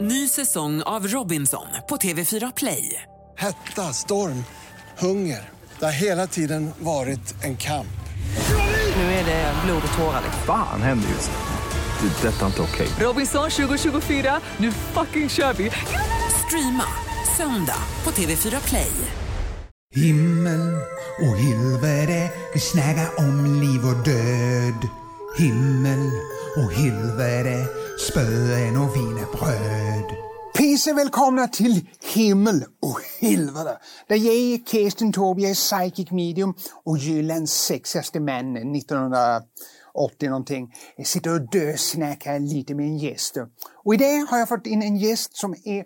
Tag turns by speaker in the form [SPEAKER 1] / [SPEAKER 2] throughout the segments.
[SPEAKER 1] Ny säsong av Robinson på TV4 Play.
[SPEAKER 2] Hetta, storm, hunger. Det har hela tiden varit en kamp.
[SPEAKER 1] Nu är det blod och tårar. liksom.
[SPEAKER 3] Fan händer just nu. Det. är Detta är inte okej.
[SPEAKER 1] Robinson 2024, nu fucking kör vi! Streama söndag på TV4 Play.
[SPEAKER 4] Himmel och helvete, vi snäga om liv och död. Himmel och helvete, spöen och wienerbröd.
[SPEAKER 5] Peace välkomna till Himmel och helvete. Där jag är Kirsten Taube, jag är psychic medium och Jyllands sexigaste man 1980 någonting. Jag sitter och dösnackar lite med en gäst. Och idag har jag fått in en gäst som är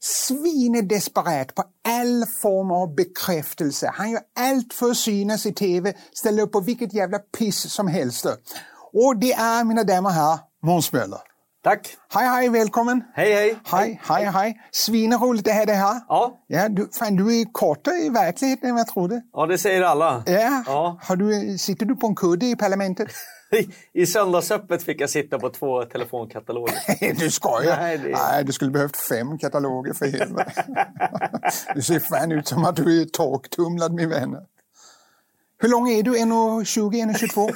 [SPEAKER 5] svinedesperat på all form av bekräftelse. Han gör allt för att synas i TV, ställer upp på vilket jävla piss som helst. Och det är, mina damer och herrar, Måns Möller.
[SPEAKER 6] Tack!
[SPEAKER 5] Hej, hej, välkommen!
[SPEAKER 6] Hej, hej!
[SPEAKER 5] Hej, hej, hej. Svinroligt det här det här.
[SPEAKER 6] Ja.
[SPEAKER 5] ja du, fan, du är kortare i verkligheten än vad jag trodde.
[SPEAKER 6] Ja, det säger alla.
[SPEAKER 5] Ja.
[SPEAKER 6] Ja.
[SPEAKER 5] Har du, sitter du på en kudde i parlamentet?
[SPEAKER 6] I, I söndagsöppet fick jag sitta på två telefonkataloger.
[SPEAKER 5] du skojar?
[SPEAKER 6] Nej, det-
[SPEAKER 5] Nej, du skulle behövt fem kataloger för helvete. du ser fan ut som att du är torktumlad min vän. Hur lång är du? 1,20? 1,22?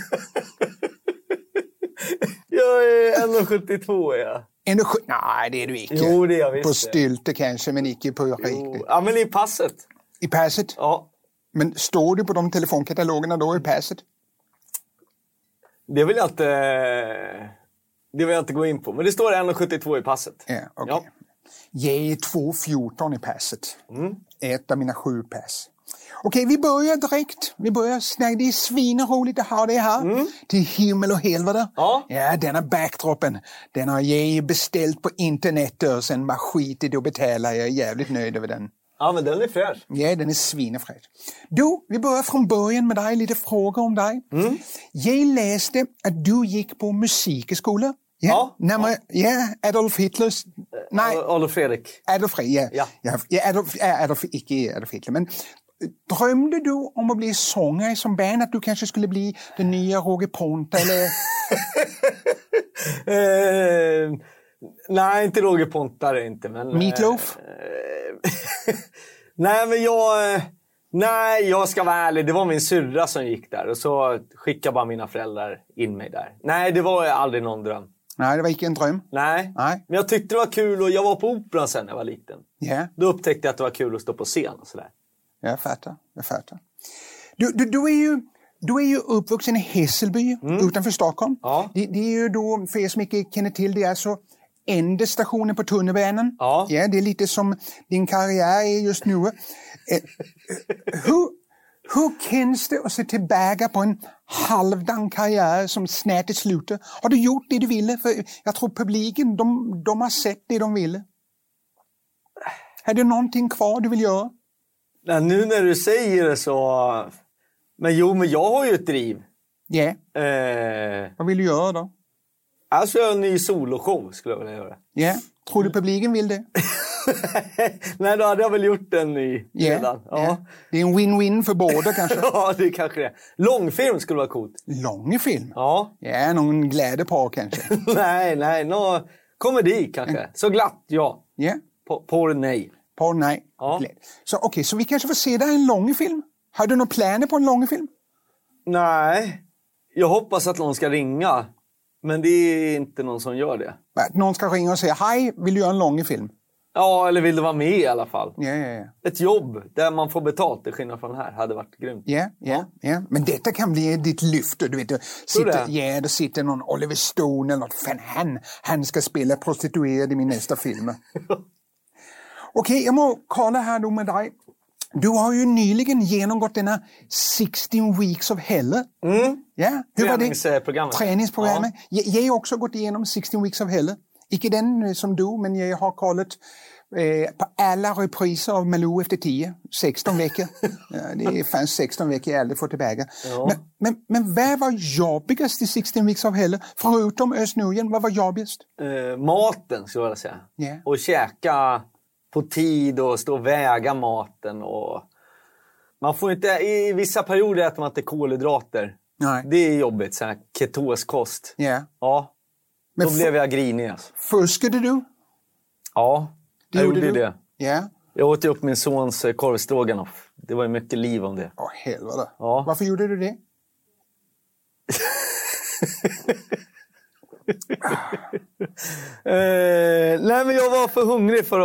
[SPEAKER 6] Jag är 1,72 är jag.
[SPEAKER 5] 1,70? Nej, det är du icke.
[SPEAKER 6] Jo, det är jag visst.
[SPEAKER 5] på stylte kanske, men icke på
[SPEAKER 6] Jo.
[SPEAKER 5] riktigt.
[SPEAKER 6] Ja, men i passet.
[SPEAKER 5] I passet?
[SPEAKER 6] Ja,
[SPEAKER 5] Men står du på de telefonkatalogerna då i passet?
[SPEAKER 6] det vill jag inte... Det vill jag inte gå in på. Men det står 1,72 i passet.
[SPEAKER 5] Ja, okej.
[SPEAKER 6] Ja.
[SPEAKER 5] Jag är 2.14 E i passet.
[SPEAKER 6] Mm.
[SPEAKER 5] Ett av mina sju pass. Okej, vi börjar direkt. Vi börjar snacka. Det är svinroligt att ha dig här. Till himmel och helvete.
[SPEAKER 6] Mm. Ja.
[SPEAKER 5] ja, denna backdropen. Den har jag beställt på internet och sen bara skitit i att betala. Jag är jävligt nöjd över den.
[SPEAKER 6] Ja, men den är fräsch.
[SPEAKER 5] Ja, den är svinefräsch. Du, vi börjar från början med dig, lite frågor om dig.
[SPEAKER 6] Mm.
[SPEAKER 5] Jag läste att du gick på musikskola.
[SPEAKER 6] Ja, Eh,
[SPEAKER 5] när man, ja Adolf Hitlers... Nej,
[SPEAKER 6] Adolf Fredrik.
[SPEAKER 5] Adolf Fredrik, ja.
[SPEAKER 6] Ja.
[SPEAKER 5] ja. ja Adolf, ja, Adolf, icke Adolf Hitler, men drömde du om att bli sångare som barn? Att du kanske skulle bli den nya Roger Ponta eller...
[SPEAKER 6] Eh, nej, inte Roger Pontare inte. Men,
[SPEAKER 5] Meatloaf?
[SPEAKER 6] Eh, nej, men jag... eh, Nej, jag ska vara ärlig. Det var min syrra som gick där och så skickade bara mina föräldrar in mig där. Nej, det var aldrig någon dröm.
[SPEAKER 5] Nej, det var icke en dröm.
[SPEAKER 6] Nej.
[SPEAKER 5] Nej.
[SPEAKER 6] Men jag tyckte det var kul och jag var på operan sen när jag var liten.
[SPEAKER 5] Ja,
[SPEAKER 6] Då upptäckte jag att det var kul att stå på scen och sådär.
[SPEAKER 5] jag fattar. Jag fattar. Du, du, du är ju... Du är ju uppvuxen i Hässelby utanför Stockholm.
[SPEAKER 6] Mm. Ja.
[SPEAKER 5] Det, det är ju då, för er som inte känner till det, är alltså enda stationen på tunnelbanan.
[SPEAKER 6] Ja.
[SPEAKER 5] Ja, det är lite som din karriär är just nu. Eh, hur, hur känns det att se tillbaka på en halvdan karriär som snart är slutet? Har du gjort det du ville? För jag tror publiken, de, de har sett det de ville. Är det någonting kvar du vill göra?
[SPEAKER 6] Nej, nu när du säger det så... Men jo, men jag har ju ett driv.
[SPEAKER 5] Ja,
[SPEAKER 6] Eh,
[SPEAKER 5] vad vill du göra då?
[SPEAKER 6] alltså, jag har en ny soloshow skulle jag vilja göra.
[SPEAKER 5] Ja, tror
[SPEAKER 6] Mm.
[SPEAKER 5] du publiken vill det?
[SPEAKER 6] Nej, då hade jag väl gjort en ny
[SPEAKER 5] Ja,
[SPEAKER 6] redan. Ja.
[SPEAKER 5] ja. Det är en win-win för båda kanske.
[SPEAKER 6] ja, det är kanske det. Långfilm skulle vara coolt.
[SPEAKER 5] Lång film.
[SPEAKER 6] Ja.
[SPEAKER 5] Ja, någon glädjepar kanske.
[SPEAKER 6] nej, nej. Nå... Komedi kanske. Så glatt, ja.
[SPEAKER 5] Ja,
[SPEAKER 6] På, porr, nej.
[SPEAKER 5] par nej.
[SPEAKER 6] Ja.
[SPEAKER 5] Glädje. Så okej, så vi kanske får se dig i en lång film? Har du några planer på en lång film?
[SPEAKER 6] Nej. Jag hoppas att någon ska ringa. Men det är inte någon som gör det.
[SPEAKER 5] Att någon ska ringa och säga hej, vill du göra en lång film?
[SPEAKER 6] Ja, eller vill du vara med i alla fall?
[SPEAKER 5] Ja, ja, ja.
[SPEAKER 6] Ett jobb där man får betalt, till skillnad från här, hade varit grymt.
[SPEAKER 5] Ja, ja, ja. Men detta kan bli ditt lyfte. Du vet, det sitter,
[SPEAKER 6] det?
[SPEAKER 5] ja, det sitter någon Oliver Stone eller något. Fan, han, han ska spela prostituerad i min nästa film. Okej, jag må kolla här då med dig. Du har ju nyligen genomgått denna 16 weeks of hell. Mm. Ja, hur var det?
[SPEAKER 6] Träningsprogrammet.
[SPEAKER 5] Träningsprogrammet. Jag, jag har också gått igenom 16 weeks of hell. Icke den eh, som du, men jag har kollat eh, på alla repriser av Malou efter 10. 16 veckor. ja, det fanns 16 veckor jag aldrig får tillbaka. Men, men, men vad var jobbigast i 16 weeks of hell? Förutom Özz Nujen, vad var jobbigast?
[SPEAKER 6] Eh, maten, skulle jag vilja säga.
[SPEAKER 5] Ja.
[SPEAKER 6] Och käka på tid och stå och väga maten. Och... Man får inte, I vissa perioder äter man inte kolhydrater.
[SPEAKER 5] Nej.
[SPEAKER 6] Det är jobbigt, så här ketoskost.
[SPEAKER 5] Ja.
[SPEAKER 6] Ja,
[SPEAKER 5] Men
[SPEAKER 6] då
[SPEAKER 5] fu-
[SPEAKER 6] blev jag grinig. Alltså.
[SPEAKER 5] fuskade du?
[SPEAKER 6] Ja, Ja,
[SPEAKER 5] Det
[SPEAKER 6] jag
[SPEAKER 5] gjorde
[SPEAKER 6] gjorde ju
[SPEAKER 5] du?
[SPEAKER 6] det.
[SPEAKER 5] Ja.
[SPEAKER 6] Jag åt ju upp min sons eh, korv stroganoff. Det var ju mycket liv om det.
[SPEAKER 5] Åh, helvete.
[SPEAKER 6] Ja.
[SPEAKER 5] Varför gjorde du det?
[SPEAKER 6] Eh, nej, men jag var för hungrig för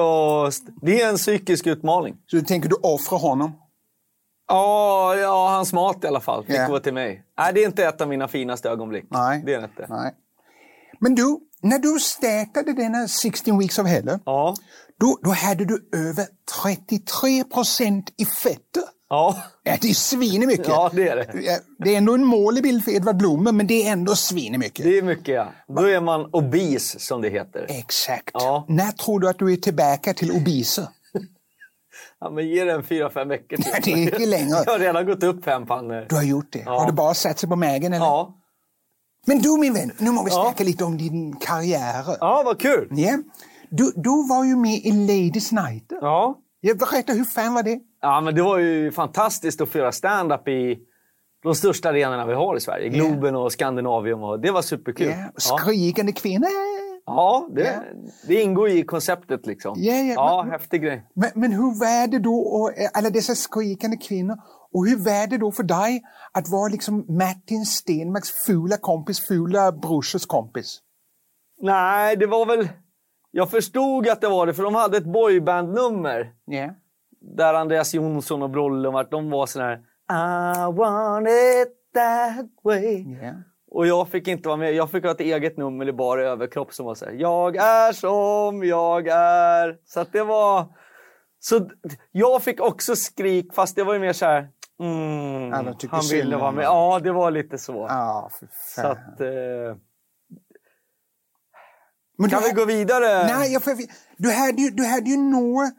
[SPEAKER 6] att... Det är en psykisk utmaning.
[SPEAKER 5] Så du tänker du offra honom?
[SPEAKER 6] Ja, ja hans mat i alla fall. Det
[SPEAKER 5] Ja.
[SPEAKER 6] går till mig. Nej, det är inte ett av mina finaste ögonblick.
[SPEAKER 5] Nej.
[SPEAKER 6] Det är det inte.
[SPEAKER 5] Nej. Men du, när du startade denna 16 Weeks of Hell,
[SPEAKER 6] Ja.
[SPEAKER 5] då, då hade du över 33 procent i fett.
[SPEAKER 6] Ja.
[SPEAKER 5] Ja, det är svinemycket.
[SPEAKER 6] ja, det är det.
[SPEAKER 5] Ja, Det är ändå en målig bild för Edvard Blomer, men det är ändå svinemycket.
[SPEAKER 6] Det är mycket, ja. Då är man obese, som det heter.
[SPEAKER 5] Exakt.
[SPEAKER 6] Ja.
[SPEAKER 5] När tror du att du är tillbaka till obese?
[SPEAKER 6] Ja, men ge det en fyra, fem veckor till.
[SPEAKER 5] Nej, det är inte längre.
[SPEAKER 6] Jag har redan gått upp fem pannor.
[SPEAKER 5] Du har gjort det.
[SPEAKER 6] Ja.
[SPEAKER 5] Har du bara satt sig på magen? Eller?
[SPEAKER 6] Ja.
[SPEAKER 5] Men du min vän, nu må vi
[SPEAKER 6] Ja.
[SPEAKER 5] snacka lite om din karriär. Ja.
[SPEAKER 6] ja, vad kul.
[SPEAKER 5] Du, du var ju med i Ladies Night.
[SPEAKER 6] Ja.
[SPEAKER 5] Jag berätta, hur fan var det?
[SPEAKER 6] Ja, men det var ju fantastiskt att få göra stand-up i de största arenorna vi har i Sverige. Globen och Skandinavium. Och det var superkul.
[SPEAKER 5] Ja. eh, Skrikande kvinnor.
[SPEAKER 6] Ja, det,
[SPEAKER 5] Ja.
[SPEAKER 6] det ingår ju i konceptet liksom.
[SPEAKER 5] Ja, ja,
[SPEAKER 6] ja
[SPEAKER 5] men-
[SPEAKER 6] häftig grej.
[SPEAKER 5] Men, men hur var det då, och, eh, alla dessa skrikande kvinnor, och hur var det då för dig att vara liksom Martin Stenmarks fula kompis, fula brorsas kompis?
[SPEAKER 6] Nej, det var väl... Jag förstod att det var det, för de hade ett boybandnummer
[SPEAKER 5] Ja.
[SPEAKER 6] där Andreas Jonsson och Brolle vart- de var sån här... I want it that way.
[SPEAKER 5] Ja.
[SPEAKER 6] Och jag fick inte vara med. Jag fick ha ett eget nummer i bara överkropp som var så här. Jag är som jag är. Så att det var... Så d- jag fick också skrik, fast det var ju mer så här... Mm,
[SPEAKER 5] Alla tycker
[SPEAKER 6] han
[SPEAKER 5] synd
[SPEAKER 6] ville
[SPEAKER 5] om
[SPEAKER 6] vara med.
[SPEAKER 5] honom.
[SPEAKER 6] Ja, det var lite så.
[SPEAKER 5] Ah, för
[SPEAKER 6] Så
[SPEAKER 5] fan.
[SPEAKER 6] att, eh,
[SPEAKER 5] Men
[SPEAKER 6] kan
[SPEAKER 5] du-
[SPEAKER 6] vi gå vidare?
[SPEAKER 5] Nej, jag får, du, hade ju, du hade ju några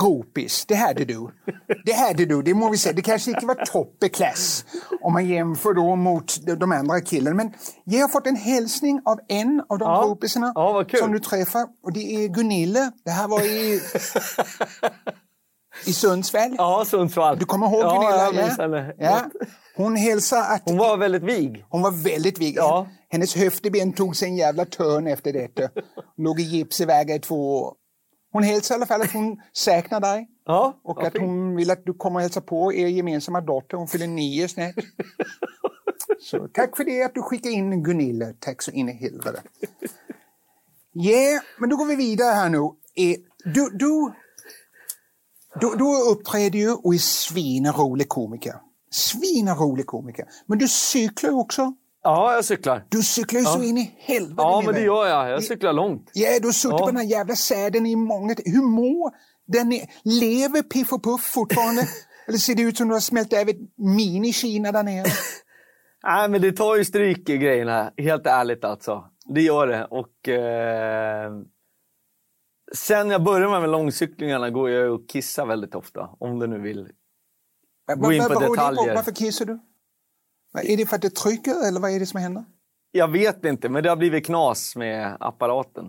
[SPEAKER 5] gropis, det hade du. Det hade du, det må vi säga. Det kanske inte var toppeklass om man jämför då mot de- de andra killarna. Men jag har fått en hälsning av en av de
[SPEAKER 6] Ja.
[SPEAKER 5] gropisarna
[SPEAKER 6] Ja, vad kul.
[SPEAKER 5] som du träffar. Och det är Gunilla. Det här var i, i Sundsvall.
[SPEAKER 6] Ja, Sundsvall.
[SPEAKER 5] Du kommer ihåg
[SPEAKER 6] ja,
[SPEAKER 5] Gunilla?
[SPEAKER 6] Jag minns henne.
[SPEAKER 5] ja. Hon hälsar att
[SPEAKER 6] Hon var väldigt vig.
[SPEAKER 5] hon var väldigt vig.
[SPEAKER 6] Ja.
[SPEAKER 5] Hennes höfteben tog sig en jävla törn efter detta. Låg i gips i vägar i två år. Hon hälsar i alla fall att hon saknar dig.
[SPEAKER 6] Ja,
[SPEAKER 5] Och
[SPEAKER 6] vad
[SPEAKER 5] att
[SPEAKER 6] fint.
[SPEAKER 5] hon vill att du kommer och hälsar på er gemensamma dotter. Hon fyller nio snart. Så tack för det att du skickade in Gunilla. Tack så in i helvete. Yeah, men då går vi vidare här nu. Eh, Du, du, du, du uppträder ju och är svinrolig komiker. Svinrolig komiker. Men du cyklar ju också.
[SPEAKER 6] Ja, jag cyklar.
[SPEAKER 5] Du cyklar ju så in i helvete.
[SPEAKER 6] Ja,
[SPEAKER 5] min
[SPEAKER 6] men det
[SPEAKER 5] vän.
[SPEAKER 6] gör jag. Jag cyklar långt.
[SPEAKER 5] Ja, du har suttit
[SPEAKER 6] Ja.
[SPEAKER 5] på den här jävla säden i många... Hur mår den? är- Lever Piff och Puff fortfarande? Eller ser det ut som du har smält över ett mini-Kina där nere?
[SPEAKER 6] Nej, men det tar ju stryk i grejerna. Helt ärligt alltså. Det gör det. Och... Eh... Sen jag började med långcyklingarna går jag och kissar väldigt ofta. Om du nu vill. Gå in på
[SPEAKER 5] beror det
[SPEAKER 6] detaljer.
[SPEAKER 5] Varför kissar du? Vad- Är det för att det trycker eller vad är det som händer?
[SPEAKER 6] Jag vet inte, men det har blivit knas med apparaten.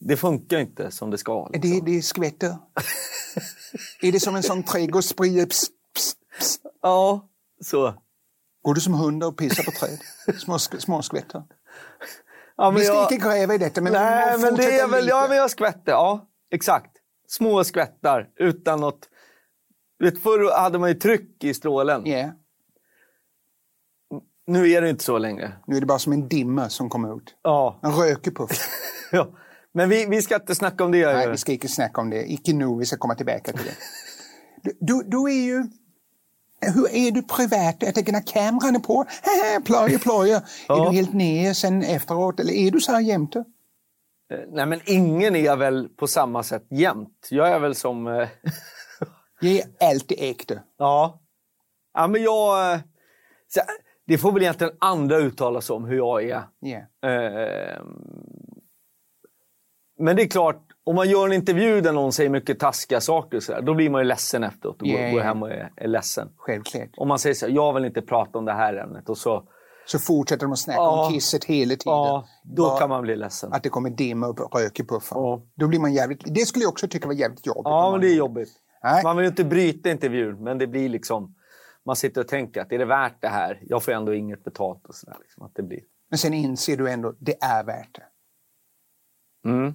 [SPEAKER 6] Det funkar inte som det ska.
[SPEAKER 5] Är det, det skvätter? är det som en sån trädgårdsspray? Psst, psst, psst.
[SPEAKER 6] Ja, så.
[SPEAKER 5] Går du som hundar och pissar på träd? Små, sk- små skvätter.
[SPEAKER 6] Ja, men
[SPEAKER 5] Vi ska
[SPEAKER 6] jag-
[SPEAKER 5] inte gräva i detta, men vi
[SPEAKER 6] Nej,
[SPEAKER 5] må
[SPEAKER 6] men det
[SPEAKER 5] fortsätta
[SPEAKER 6] är väl...
[SPEAKER 5] lite.
[SPEAKER 6] Ja, men jag skvätter. Ja, exakt. Små skvättar utan något... Du Vet, förr hade man ju tryck i strålen.
[SPEAKER 5] Ja,
[SPEAKER 6] Nu är det inte så längre.
[SPEAKER 5] nu är det bara som en dimma som kommer ut.
[SPEAKER 6] Ja.
[SPEAKER 5] En rökig puff.
[SPEAKER 6] ja. Men vi, vi ska inte snacka om det. eh,
[SPEAKER 5] Nej, vi ska inte snacka om det. Icke nu, vi ska komma tillbaka till det. Du, du, du är ju... Hur är du privat? Jag tänker när kameran är på, plöje, plöje. Är
[SPEAKER 6] Ja.
[SPEAKER 5] du helt nere sen efteråt eller är du så här jämte?
[SPEAKER 6] Eh, Nej, men ingen är väl på samma sätt jämt. Jag är väl som... eh,
[SPEAKER 5] Jag är alltid äkta.
[SPEAKER 6] ja. Ja, men jag... eh, så- Det får väl egentligen andra uttala sig om hur jag är.
[SPEAKER 5] Ja.
[SPEAKER 6] Eh, Men det är klart, om man gör en intervju där någon säger mycket taskiga saker, och så där, då blir man ju ledsen efteråt och
[SPEAKER 5] Ja,
[SPEAKER 6] går,
[SPEAKER 5] ja.
[SPEAKER 6] går hem och är, är ledsen.
[SPEAKER 5] Självklart.
[SPEAKER 6] Om man säger så här, jag vill inte prata om det här ämnet. Och så,
[SPEAKER 5] Så fortsätter de att snacka
[SPEAKER 6] Ja.
[SPEAKER 5] om kisset hela tiden.
[SPEAKER 6] ja, då
[SPEAKER 5] Bara
[SPEAKER 6] kan man bli ledsen.
[SPEAKER 5] Att det kommer dimma upp rök i puffen.
[SPEAKER 6] Ja.
[SPEAKER 5] Då blir man jävligt... Det skulle jag också tycka var jävligt jobbigt. om
[SPEAKER 6] Ja, men
[SPEAKER 5] man-
[SPEAKER 6] det är jobbigt.
[SPEAKER 5] Nej.
[SPEAKER 6] Man vill ju inte bryta intervjun, men det blir liksom... Man sitter och tänker att är det värt det här? Jag får ändå inget betalt och sådär. Liksom, att det blir...
[SPEAKER 5] Men sen inser du ändå, det är värt det.
[SPEAKER 6] Mm.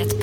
[SPEAKER 7] Ett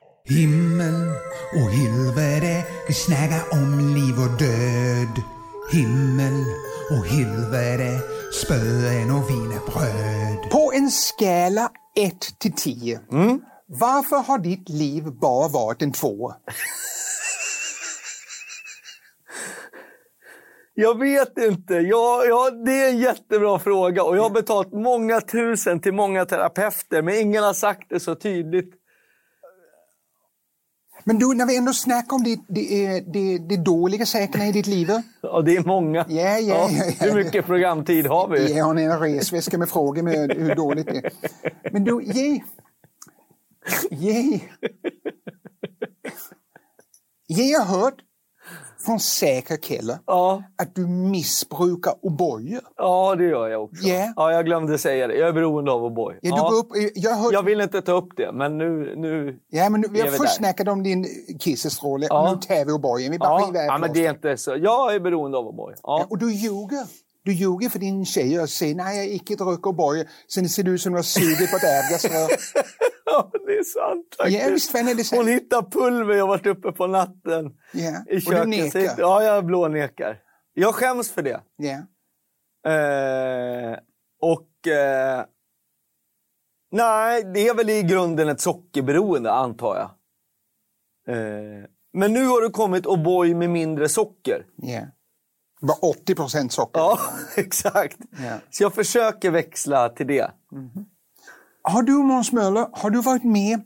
[SPEAKER 4] Himmel och helvete, vi snackar om liv och död. Himmel och helvete, spöen och wienerbröd.
[SPEAKER 5] På en skala 1 till 10. Varför har ditt liv bara varit en tvåa?
[SPEAKER 6] Jag vet inte. Jag, jag, det är en jättebra fråga och jag har betalat många tusen till många terapeuter men ingen har sagt det så tydligt.
[SPEAKER 5] Men du, när vi ändå snackar om det, det, är- det, det dåliga säkerna i ditt liv.
[SPEAKER 6] Ja, det är många.
[SPEAKER 5] Ja, ja, ja, ja.
[SPEAKER 6] Hur mycket programtid har vi?
[SPEAKER 5] Ge honom en resväska med frågor med hur dåligt det är. Men du, ge... Ge... Ge har hört från säkra källor
[SPEAKER 6] Ja,
[SPEAKER 5] att du missbrukar O'boy.
[SPEAKER 6] ja det gör jag också.
[SPEAKER 5] Ja.
[SPEAKER 6] Ja, jag glömde säga det. Jag är beroende av O'boy.
[SPEAKER 5] Ja, du går upp, jag har hört
[SPEAKER 6] Jag vill inte ta upp det, men nu... nu...
[SPEAKER 5] Ja, men nu- vi
[SPEAKER 6] Det är
[SPEAKER 5] har
[SPEAKER 6] väl
[SPEAKER 5] först
[SPEAKER 6] där.
[SPEAKER 5] snackat om din kissestråle
[SPEAKER 6] Ja.
[SPEAKER 5] och nu tar vi O'boyen. Vi bara
[SPEAKER 6] Ja,
[SPEAKER 5] river
[SPEAKER 6] ja,
[SPEAKER 5] av
[SPEAKER 6] men det
[SPEAKER 5] plåstret.
[SPEAKER 6] är inte så. Jag är beroende av O'boy.
[SPEAKER 5] Ja,
[SPEAKER 6] Ja.
[SPEAKER 5] Och du ljuger. Du ljuger för din tjej och säger nej, jag har icke druckit O'boy. Sen ser det ut som du har sugit på ett ävgasrör.
[SPEAKER 6] ja, det är sant faktiskt.
[SPEAKER 5] Ja, visst fan är det sant.
[SPEAKER 6] Hon hittar pulver jag varit uppe på natten.
[SPEAKER 5] Ja.
[SPEAKER 6] I
[SPEAKER 5] Och du
[SPEAKER 6] köket.
[SPEAKER 5] nekar. Ja.
[SPEAKER 6] Ja, jag blånekar. Jag skäms för det. Eh, och... Eh, nej, det är väl i grunden ett sockerberoende, antar jag. Eh, men nu har du kommit O'boy med mindre socker.
[SPEAKER 5] Ja. Bara 80 procent socker.
[SPEAKER 6] Ja, exakt.
[SPEAKER 5] Ja.
[SPEAKER 6] Så jag försöker växla till det.
[SPEAKER 5] Har du, Måns Möller, har du varit med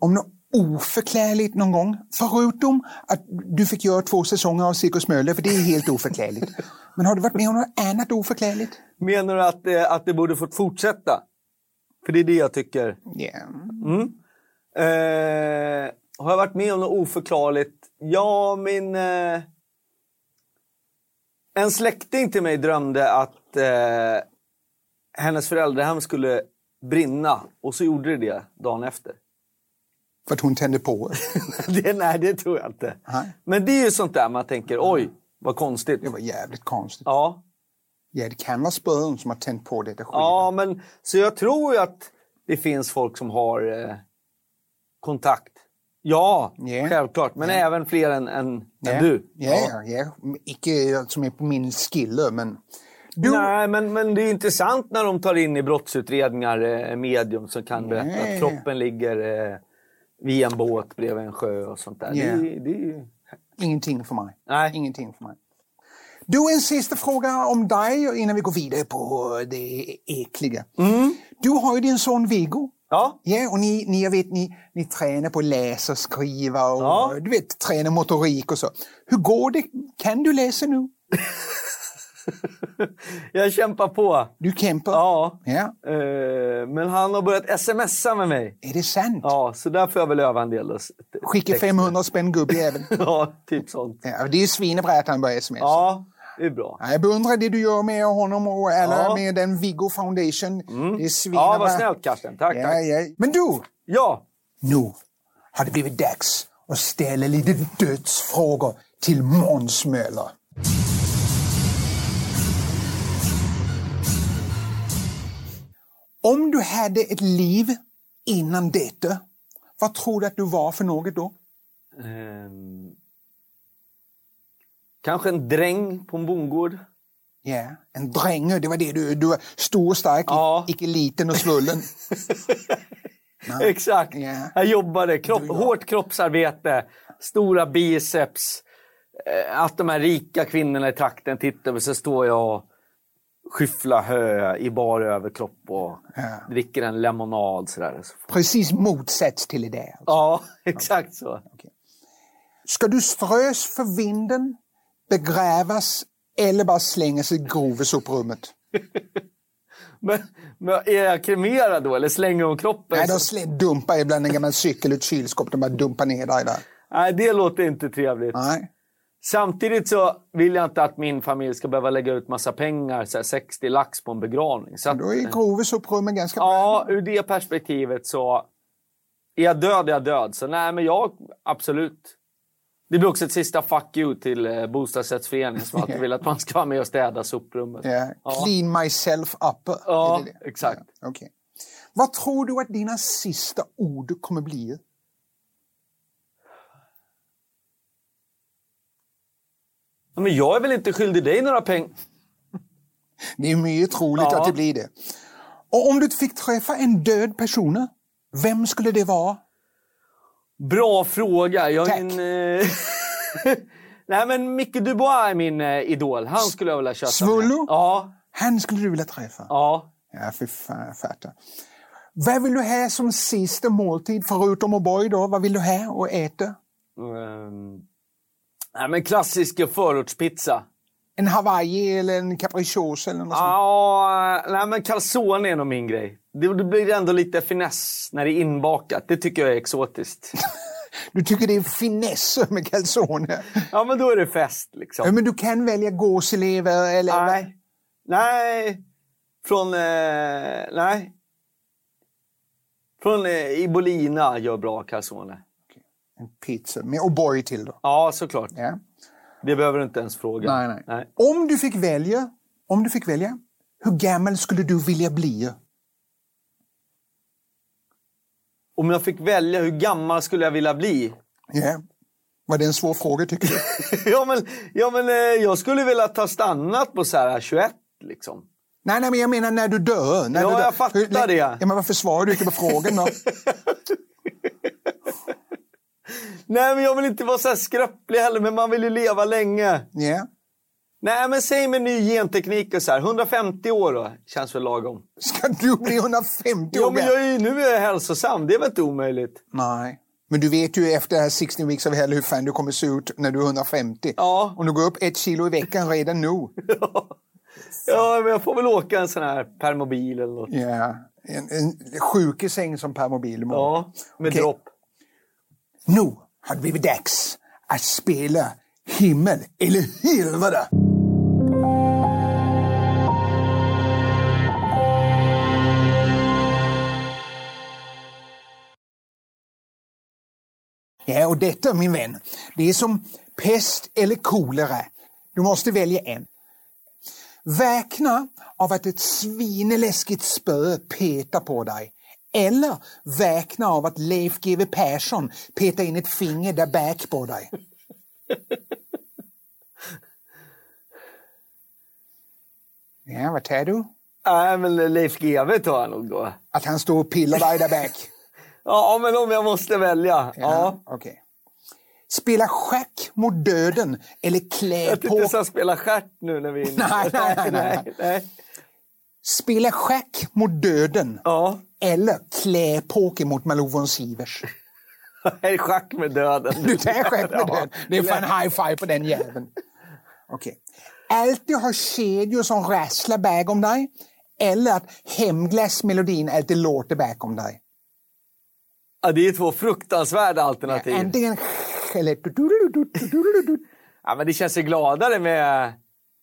[SPEAKER 5] om något oförklarligt någon gång? Förutom att du fick göra två säsonger av Cirkus Möller, för det är helt oförklarligt. Men har du varit med om något annat oförklarligt?
[SPEAKER 6] Menar du att, eh, att det borde fått fortsätta? För det är det jag tycker.
[SPEAKER 5] Ja.
[SPEAKER 6] Eh, har jag varit med om något oförklarligt? Ja, min... Eh, en släkting till mig drömde att eh, hennes föräldrahem skulle brinna och så gjorde det det dagen efter.
[SPEAKER 5] För att hon tände på.
[SPEAKER 6] det, nej, det tror jag inte.
[SPEAKER 5] Nej. Mm.
[SPEAKER 6] Men det är ju sånt där man tänker, oj, vad konstigt.
[SPEAKER 5] Det var jävligt konstigt.
[SPEAKER 6] Ja,
[SPEAKER 5] Ja, det kan vara spöen som har tänt på detta skit.
[SPEAKER 6] ja men så jag tror ju att det finns folk som har eh, kontakt. Ja,
[SPEAKER 5] Ja.
[SPEAKER 6] självklart. Men även fler än, än,
[SPEAKER 5] ja.
[SPEAKER 6] än du.
[SPEAKER 5] Ja, ja. ja. Icke som är på min skille, men... Du,
[SPEAKER 6] Nej, men, men det är intressant när de tar in i brottsutredningar eh, medium som kan berätta
[SPEAKER 5] Nej.
[SPEAKER 6] att kroppen ligger eh, vid en båt bredvid en sjö och sånt där.
[SPEAKER 5] Ja.
[SPEAKER 6] Det, det är ju...
[SPEAKER 5] Ingenting för mig.
[SPEAKER 6] Nej.
[SPEAKER 5] Ingenting för mig. Du, en sista fråga om dig innan vi går vidare på det äckliga.
[SPEAKER 6] Mm.
[SPEAKER 5] Du har ju din son Viggo.
[SPEAKER 6] Ja,
[SPEAKER 5] Ja, och ni, ni, jag vet, ni, ni tränar på att läsa och skriva och
[SPEAKER 6] Ja.
[SPEAKER 5] du vet, tränar motorik och så. Hur går det? Kan du läsa nu?
[SPEAKER 6] jag kämpar på.
[SPEAKER 5] Du kämpar?
[SPEAKER 6] Ja.
[SPEAKER 5] ja.
[SPEAKER 6] Eh, men han har börjat smsa med mig.
[SPEAKER 5] Är det sant?
[SPEAKER 6] Ja, så där får jag väl öva en del. då.
[SPEAKER 5] Skicka 500 spänn gubbjävel.
[SPEAKER 6] Ja, typ sånt.
[SPEAKER 5] Ja, det är svinebra att han börjar sms.
[SPEAKER 6] Ja, det är bra.
[SPEAKER 5] Ja, Jag beundrar det du gör med honom och alla
[SPEAKER 6] Ja. Mm.
[SPEAKER 5] med den Viggo Foundation. Det är svinebra.
[SPEAKER 6] Ja, vad snällt Karsten. Tack,
[SPEAKER 5] Ja,
[SPEAKER 6] tack.
[SPEAKER 5] ja. Men du,
[SPEAKER 6] Ja,
[SPEAKER 5] nu har det blivit dags att ställa lite dödsfrågor till Måns Möller. Om du hade ett liv innan detta, vad tror du att du var för något då?
[SPEAKER 6] Ehm, kanske en dräng på en bondgård.
[SPEAKER 5] Ja, en dränge, det var det du, du var stor och stark,
[SPEAKER 6] Ja.
[SPEAKER 5] icke liten och svullen.
[SPEAKER 6] Exakt.
[SPEAKER 5] Ja.
[SPEAKER 6] Jag jobbade. Kropp, Hårt kroppsarbete, stora biceps. eh, Att de här rika kvinnorna i trakten tittar och så står jag och skyffla hö i bar överkropp och dricker en lemonad. Sådär.
[SPEAKER 5] Precis motsats till det där.
[SPEAKER 6] Ja, exakt så.
[SPEAKER 5] Ska du strös för vinden, begrävas eller bara slängas i groves upp rummet?
[SPEAKER 6] Men, men är jag kremerad då eller slänger hon kroppen?
[SPEAKER 5] Nej, de slä- dumpar ju bland en gammal cykel ur ett kylskåp. De bara dumpar ner dig där.
[SPEAKER 6] Nej, det låter inte trevligt.
[SPEAKER 5] Nej.
[SPEAKER 6] Samtidigt så vill jag inte att min familj ska behöva lägga ut massa pengar, så här 60 lax på en begravning. Så att,
[SPEAKER 5] Då är groves upp rummet ganska bra.
[SPEAKER 6] ja, ur det perspektivet så är jag död, är jag död. Så nej, men jag absolut. Det blir också ett sista fuck you till eh, bostadsrättsföreningen som alltid vill att man ska vara med och städa soprummet.
[SPEAKER 5] Ja. Clean myself up.
[SPEAKER 6] Ja,
[SPEAKER 5] Är det det?
[SPEAKER 6] exakt.
[SPEAKER 5] Ja, okej. Vad tror du att dina sista ord kommer bli?
[SPEAKER 6] Ja, Men jag är väl inte skyldig dig några pengar?
[SPEAKER 5] Det är mycket troligt
[SPEAKER 6] Ja.
[SPEAKER 5] att det blir det. Och om du fick träffa en död person, vem skulle det vara?
[SPEAKER 6] Bra fråga. Jag
[SPEAKER 5] Tack.
[SPEAKER 6] är en, eh... Nej, men Micke Dubois är min eh, idol. Han skulle jag vilja köta
[SPEAKER 5] Svullo?
[SPEAKER 6] Med. Ja,
[SPEAKER 5] Han skulle du vilja träffa?
[SPEAKER 6] ja.
[SPEAKER 5] Ja, fy fan, jag fattar. Vad vill du ha som sista måltid, förutom O'boy då? Vad vill du ha och äta?
[SPEAKER 6] Ehm, Nej, men klassisk förortspizza.
[SPEAKER 5] En Hawaii eller en capricciosa eller något sånt?
[SPEAKER 6] Ja, nej, men calzone är nog min grej. Det, det blir ändå lite finess när det är inbakat. Det tycker jag är exotiskt.
[SPEAKER 5] Du tycker det är finesser med calzone?
[SPEAKER 6] ja, men då är det fest liksom.
[SPEAKER 5] Ja, men du kan välja gåslever eller...
[SPEAKER 6] Nej. Nej. Från... Eh, nej. Från eh, Ibolina gör bra calzone.
[SPEAKER 5] En pizza med O'boy till då.
[SPEAKER 6] Ja, såklart.
[SPEAKER 5] Ja.
[SPEAKER 6] Det behöver du inte ens fråga.
[SPEAKER 5] Nej, nej. Om du fick välja, om du fick välja, hur gammal skulle du vilja bli?
[SPEAKER 6] Om jag fick välja, hur gammal skulle jag vilja bli?
[SPEAKER 5] Ja. Var det en svår fråga tycker du?
[SPEAKER 6] ja, men, ja, men eh, jag skulle vilja ta stannat på så här 21, liksom.
[SPEAKER 5] nej, nej, men jag menar när du dör. När
[SPEAKER 6] Ja,
[SPEAKER 5] du dör.
[SPEAKER 6] jag fattar
[SPEAKER 5] Hur-
[SPEAKER 6] det.
[SPEAKER 5] Ja, men varför svarar du inte på frågan då?
[SPEAKER 6] Nej, men jag vill inte vara så här skröplig heller, men man vill ju leva länge.
[SPEAKER 5] Ja.
[SPEAKER 6] Nej, men säg med ny genteknik och så här. 150 år då, känns väl lagom.
[SPEAKER 5] Ska du bli 150
[SPEAKER 6] Ja,
[SPEAKER 5] år
[SPEAKER 6] men
[SPEAKER 5] gammal?
[SPEAKER 6] jag är, ju- nu är jag hälsosam. Det är väl inte omöjligt?
[SPEAKER 5] Nej. Men du vet ju efter det här 16 weeks of hell hur fan du kommer se ut när du är 150.
[SPEAKER 6] Ja.
[SPEAKER 5] Om du går upp ett kilo i veckan redan nu.
[SPEAKER 6] Ja, men jag får väl åka en sån här permobil eller något.
[SPEAKER 5] Ja. En, en sjukesäng som per mobil imorgon.
[SPEAKER 6] Ja, med
[SPEAKER 5] Okej.
[SPEAKER 6] dropp.
[SPEAKER 5] Nu har det blivit dags att spela himmel eller helvete. Ja, och detta min vän, det är som pest eller kolera. Du måste välja en. Väkna av att ett svineläskigt spö petar på dig. Eller väkna av att Leif GW Persson petar in ett finger där bak på dig. Ja, vad tar du?
[SPEAKER 6] Nej, men Leif GW tar jag nog då.
[SPEAKER 5] Att han står och pillar dig där bak?
[SPEAKER 6] Ja, men om jag måste välja. Ja.
[SPEAKER 5] Okej. Spela schack mot döden eller klä
[SPEAKER 6] Jag tänkte
[SPEAKER 5] på...
[SPEAKER 6] jag ska spela stjärt nu när vi är inne.
[SPEAKER 5] Nej, nej, nej, nej.
[SPEAKER 6] nej.
[SPEAKER 5] Spela schack mot döden
[SPEAKER 6] Ja,
[SPEAKER 5] eller klä poker mot Malou von Sivers.
[SPEAKER 6] nej, schack med döden.
[SPEAKER 5] Du tar schack med den. Det är fan high five på den jäveln. Okej. Alltid ha kedjor som rasslar bakom dig eller att hemglassmelodin alltid låter bakom dig.
[SPEAKER 6] Ja, det är två fruktansvärda alternativ.
[SPEAKER 5] Antingen eller... du-du-du-du-du-du-du-du.
[SPEAKER 6] Ja, men det känns ju gladare med,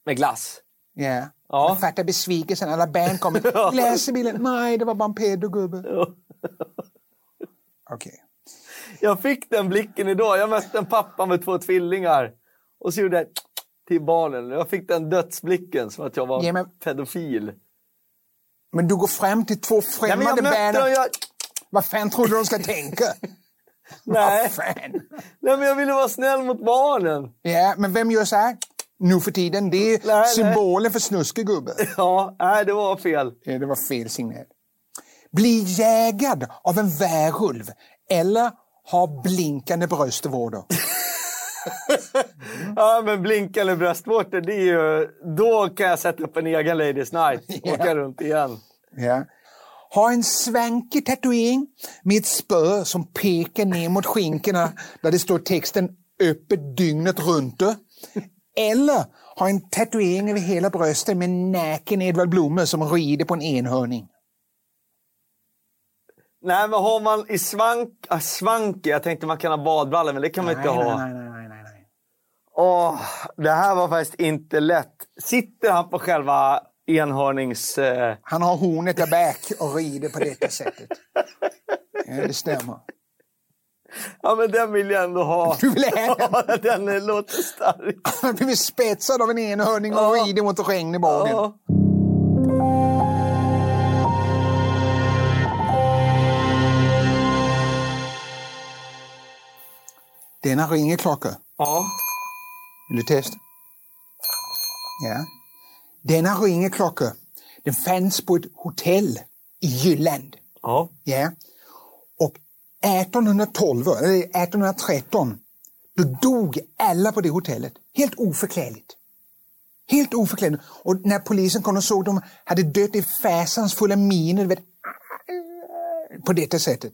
[SPEAKER 6] med glass.
[SPEAKER 5] Ja.
[SPEAKER 6] Ja.
[SPEAKER 5] Man fattar besvikelsen. Alla barn kommer. Läser bilen. Nej, det var bara en pedogubbe. Okej.
[SPEAKER 6] Jag fick den blicken idag. Jag mötte en pappa med två tvillingar. Och så gjorde jag till barnen. Jag fick den dödsblicken som att jag var
[SPEAKER 5] Ja, men-
[SPEAKER 6] pedofil.
[SPEAKER 5] Men du går fram till två
[SPEAKER 6] Nej, men
[SPEAKER 5] främmande
[SPEAKER 6] jag mötte
[SPEAKER 5] barn.
[SPEAKER 6] dem.
[SPEAKER 5] och-
[SPEAKER 6] Jag...
[SPEAKER 5] Vad fan tror du de ska tänka?
[SPEAKER 6] Nej.
[SPEAKER 5] Vad fan?
[SPEAKER 6] Nej, men jag ville vara snäll mot barnen.
[SPEAKER 5] Ja, men vem gör så här nu för tiden? Det är
[SPEAKER 6] nej.
[SPEAKER 5] symbolen för snuskig gubbe.
[SPEAKER 6] Ja, nej, det var fel.
[SPEAKER 5] Eh, Det var fel signal. Bli jägad av en värulv eller ha blinkande bröstvårtor.
[SPEAKER 6] ja, men blink eller bröstvårtor, det är ju... Då kan jag sätta upp en egen Ladies Night och åka runt igen.
[SPEAKER 5] Ja. Ha en svankig tatuering med ett spö som pekar ner mot skinkorna där det står texten öppet dygnet runt. Eller ha en tatuering över hela bröstet med näken Edvard Blomme som rider på en enhörning.
[SPEAKER 6] Nej, men har man i svank... Ah, svank, jag tänkte man kan ha badbrallor, men det kan man inte ha.
[SPEAKER 5] nej, nej, nej, nej, nej.
[SPEAKER 6] Åh, det här var faktiskt inte lätt. Sitter han på själva enhörnings... Eh,
[SPEAKER 5] Han har hornet där bak och rider på detta sättet. Ja, det stämmer.
[SPEAKER 6] ja, men den vill jag ändå ha.
[SPEAKER 5] Du vill ha den?
[SPEAKER 6] Ja, den eh, låter stark.
[SPEAKER 5] Han har blivit spetsad av en enhörning och
[SPEAKER 6] Ja.
[SPEAKER 5] rider mot regn i bagen.
[SPEAKER 6] Ja.
[SPEAKER 5] Denna ringer klocka.
[SPEAKER 6] ja.
[SPEAKER 5] Vill du testa? Ja. Denna ringer klocka. Den fanns på ett hotell i Jylland.
[SPEAKER 6] ja.
[SPEAKER 5] Ja. Och 1812, eller 1813, då dog alla på det hotellet. Helt oförklarligt. Helt oförklarligt. Och när polisen kom och såg dem hade dött i fasansfulla miner. du Vet, på detta sättet.